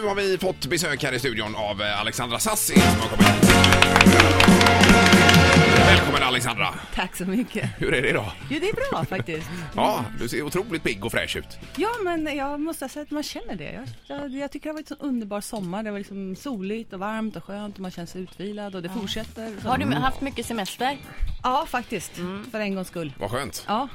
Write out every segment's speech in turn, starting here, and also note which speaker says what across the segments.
Speaker 1: nu har vi fått besök här i studion av eh, Alexandra Sassi som har kommit hit. Välkommen Alexandra!
Speaker 2: Tack så mycket.
Speaker 1: Hur är det idag?
Speaker 2: Jo, det är bra faktiskt.
Speaker 1: Ja, du ser otroligt pigg och fräsch ut.
Speaker 2: Ja, men jag måste säga att man känner det. Jag, jag, jag tycker det har varit en sån underbar sommar. Det var liksom soligt och varmt och skönt och man känner sig utvilad och det fortsätter. Så-
Speaker 3: Har
Speaker 1: Mm.
Speaker 3: du haft mycket semester?
Speaker 2: Ja, faktiskt. För en gångs skull.
Speaker 1: Vad skönt.
Speaker 2: Ja,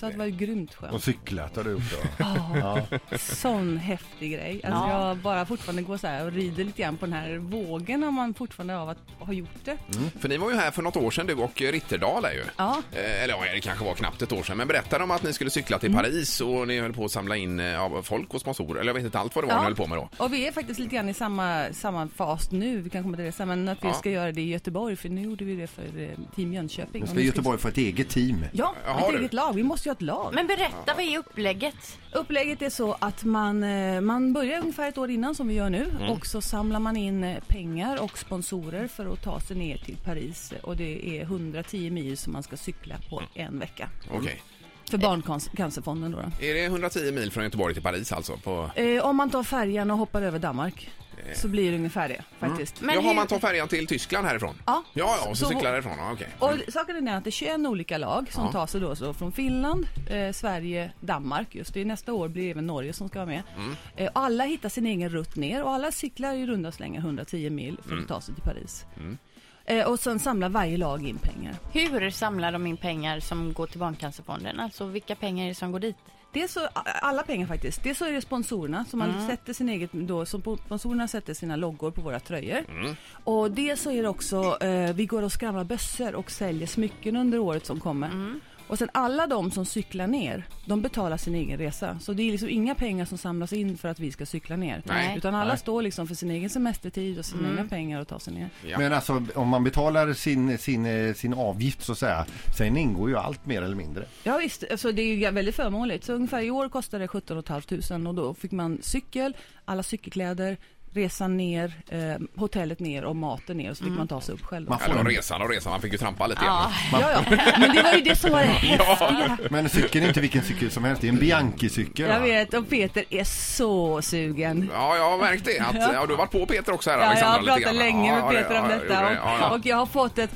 Speaker 2: så att det var ju grymt skönt.
Speaker 4: Och cyklat har du gjort då?
Speaker 2: Sån häftig grej. Alltså
Speaker 3: Ja.
Speaker 2: jag bara fortfarande går så här och rider lite grann på den här vågen om man fortfarande av att ha gjort det.
Speaker 1: För ni var ju här för något år sedan du och eh, Ritterdal är ju.
Speaker 2: Ja.
Speaker 1: Eh, Eller ja, det kanske var knappt ett år sedan. Men berättade om att ni skulle cykla
Speaker 2: Mm.
Speaker 1: till Paris och ni höll på att samla in eh, ja, folk och sponsorer. Eller jag vet inte allt vad det var ni höll på med då.
Speaker 2: Och vi är faktiskt lite grann i samma, samma fas nu, vi kan komma till det sen, men att vi
Speaker 1: Ja.
Speaker 2: ska göra det i Göteborg, för nu gjorde vi det för eh, Team Jönköping.
Speaker 4: Nu
Speaker 2: Och
Speaker 4: ska
Speaker 2: nu vi-
Speaker 4: Göteborg få ett eget team.
Speaker 2: Ja,
Speaker 1: Jaha,
Speaker 2: ett
Speaker 1: du.
Speaker 2: eget lag. Vi måste ju ha ett lag.
Speaker 3: Men berätta, vad är upplägget?
Speaker 2: Upplägget är så att man, eh, man börjar ungefär ett år innan som vi gör nu och så samlar man in eh, pengar och sponsorer för att ta sig ner till Paris och det är 110 mil som man ska cykla på en vecka.
Speaker 1: Okej.
Speaker 2: För Barncancerfonden då. då.
Speaker 1: Är det 110 mil från Göteborg till Paris alltså? På...
Speaker 2: Eh, om man tar färjan och hoppar över Danmark så blir det ungefär det faktiskt.
Speaker 3: Men
Speaker 1: ja, har
Speaker 3: hur-
Speaker 1: man tar färjan till Tyskland härifrån?
Speaker 2: Ja.
Speaker 1: Ja, ja och så,
Speaker 2: Så-
Speaker 1: cyklar härifrån. Ja, okej.
Speaker 2: Och saken är att det är 21 olika lag som tar sig då så från Finland, eh, Sverige, Danmark. Just det, nästa år blir även Norge som ska vara med. Eh, och alla hittar sin egen rutt ner och alla cyklar i runda slängar 110 mil för att ta sig till Paris. Eh, och sen samlar varje lag in pengar.
Speaker 3: Hur samlar de in pengar som går till Barncancerfonden? Alltså vilka pengar är det som går dit?
Speaker 2: Dels så, alla pengar faktiskt. Dels så är det sponsorerna som man
Speaker 3: Mm.
Speaker 2: sätter sin eget, då, som po- sponsorerna sätter sina loggor på våra tröjor.
Speaker 3: Mm.
Speaker 2: Och dels så är det också, eh, vi går och skramlar bössor och säljer smycken under året som kommer.
Speaker 3: Mm.
Speaker 2: Och sen alla de som cyklar ner, de betalar sin egen resa. Så det är liksom inga pengar som samlas in för att vi ska cykla ner.
Speaker 3: Nej. Mm.
Speaker 2: Utan alla står liksom för sin egen semestertid och sina egna pengar och tar sig ner.
Speaker 1: Ja.
Speaker 4: Men alltså om man betalar sin, sin, eh, sin avgift så att säga, sen ingår ju allt mer eller mindre.
Speaker 2: Ja visst, alltså det är ju väldigt förmånligt. Så ungefär i år kostade det 17 500 och då fick man cykel, alla cykelkläder, resan ner, eh, hotellet ner och maten ner och så fick
Speaker 1: Mm.
Speaker 2: man ta sig upp själv.
Speaker 4: Man
Speaker 1: Ja, det
Speaker 4: får
Speaker 1: var
Speaker 4: en,
Speaker 1: resan och resan. Man fick ju trampa lite grann.
Speaker 2: Ja, ja, men det var ju det som var det häftiga.
Speaker 4: men cykeln är inte vilken cykel som helst, det är en Bianchi-cykel.
Speaker 2: Jag
Speaker 4: va?
Speaker 2: vet, och Peter är så sugen.
Speaker 1: Ja, jag har märkt det. Att, ja. du har varit på Peter också här,
Speaker 2: Ja, jag
Speaker 1: Alexandra,
Speaker 2: har
Speaker 1: lite
Speaker 2: pratat
Speaker 1: grann.
Speaker 2: länge
Speaker 1: Ja,
Speaker 2: med
Speaker 1: ja,
Speaker 2: Peter
Speaker 1: ja,
Speaker 2: om
Speaker 1: jag gjorde det. Ja, ja.
Speaker 2: detta och, och jag har fått ett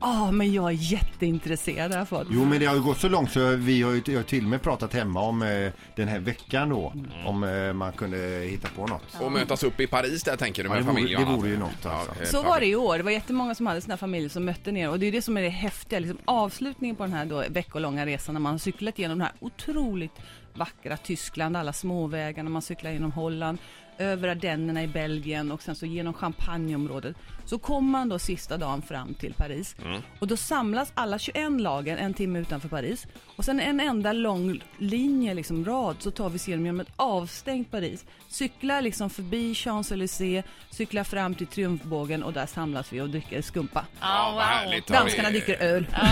Speaker 2: Ja, men jag är jätteintresserad har jag fått.
Speaker 4: Jo men det har ju gått så långt så vi har ju jag har till och med pratat hemma om eh, den här veckan då, om eh, man kunde hitta på något.
Speaker 1: Och mötas upp i Paris där, tänker du, med eh,
Speaker 4: Ja, det vore-
Speaker 1: familj och
Speaker 4: det
Speaker 1: annat.
Speaker 4: vore ju något, alltså.
Speaker 1: helt
Speaker 2: Så var
Speaker 1: perfekt.
Speaker 2: det i år. Det var jättemånga som hade sina familjer som mötte ner och det är det som är det häftiga. Liksom avslutningen på den här då veckolånga resan när man har cyklat genom det här otroligt vackra Tyskland, alla småvägarna, man cyklar genom Holland, över Ardennerna i Belgien och sen så genom Champagneområdet. Så kommer man då sista dagen fram till Paris och då samlas alla 21 lagen en timme utanför Paris och sen en enda lång linje, liksom rad, så tar vi oss igenom genom ett avstängt Paris. Cyklar liksom förbi Champs-Élysées, cyklar fram till Triumfbågen och där samlas vi och dricker skumpa.
Speaker 1: Ja, vad härligt.
Speaker 2: Danskarna
Speaker 1: Ja, det-
Speaker 2: dricker öl.
Speaker 1: Ja,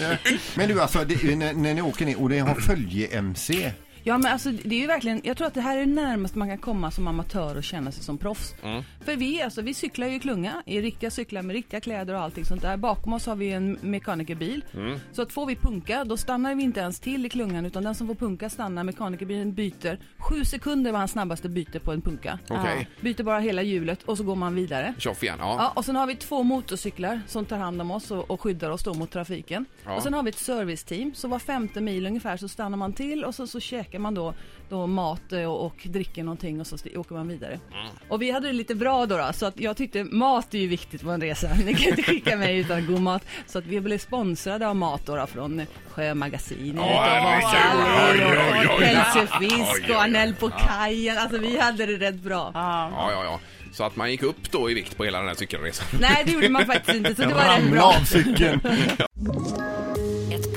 Speaker 1: ja.
Speaker 4: Men du alltså, det, när, när ni åker ner och ni har följe-MC,
Speaker 2: Ja men alltså det är ju verkligen, jag tror att det här är närmast man kan komma som amatör och känna sig som proffs. För vi, alltså, vi cyklar ju i klunga, i riktiga cyklar med riktiga kläder och allting sånt där. Bakom oss har vi en mekanikerbil. Så att får vi punka, då stannar vi inte ens till i klungan utan den som får punka stannar, mekanikerbilen byter. Sju sekunder var hans snabbaste byte på en punka.
Speaker 1: Okej.
Speaker 2: Byter bara hela hjulet och så går man vidare.
Speaker 1: Tjoff igen. Ja.
Speaker 2: Ja, och sen har vi två motorcyklar som tar hand om oss och, och skyddar oss då mot trafiken.
Speaker 1: Ja.
Speaker 2: Och sen har vi ett serviceteam, så var femte mil ungefär så stannar man till och så, så käkar man då, då mat eh, och, och dricker någonting och så sti- åker man vidare.
Speaker 1: Mm.
Speaker 2: Och vi hade det lite bra då, då så att jag tyckte mat är ju viktigt på en resa. Ni kan inte skicka mig utan god mat. Så att vi blev sponsrade av mat då, då från eh, Sjömagasinet
Speaker 1: Åh, herregud. Oj, oj, oj, oj.
Speaker 2: och
Speaker 1: Oj, oj,
Speaker 2: Pälsefisk
Speaker 1: oj.
Speaker 2: och Anell på kajen. Alltså vi hade det rätt bra.
Speaker 1: Ja, ja, ja. Så att man gick upp då i vikt på hela den här cykelresan.
Speaker 2: Nej det gjorde man faktiskt inte så det var rätt
Speaker 4: ramla
Speaker 2: bra.
Speaker 4: av cykeln.
Speaker 5: Ett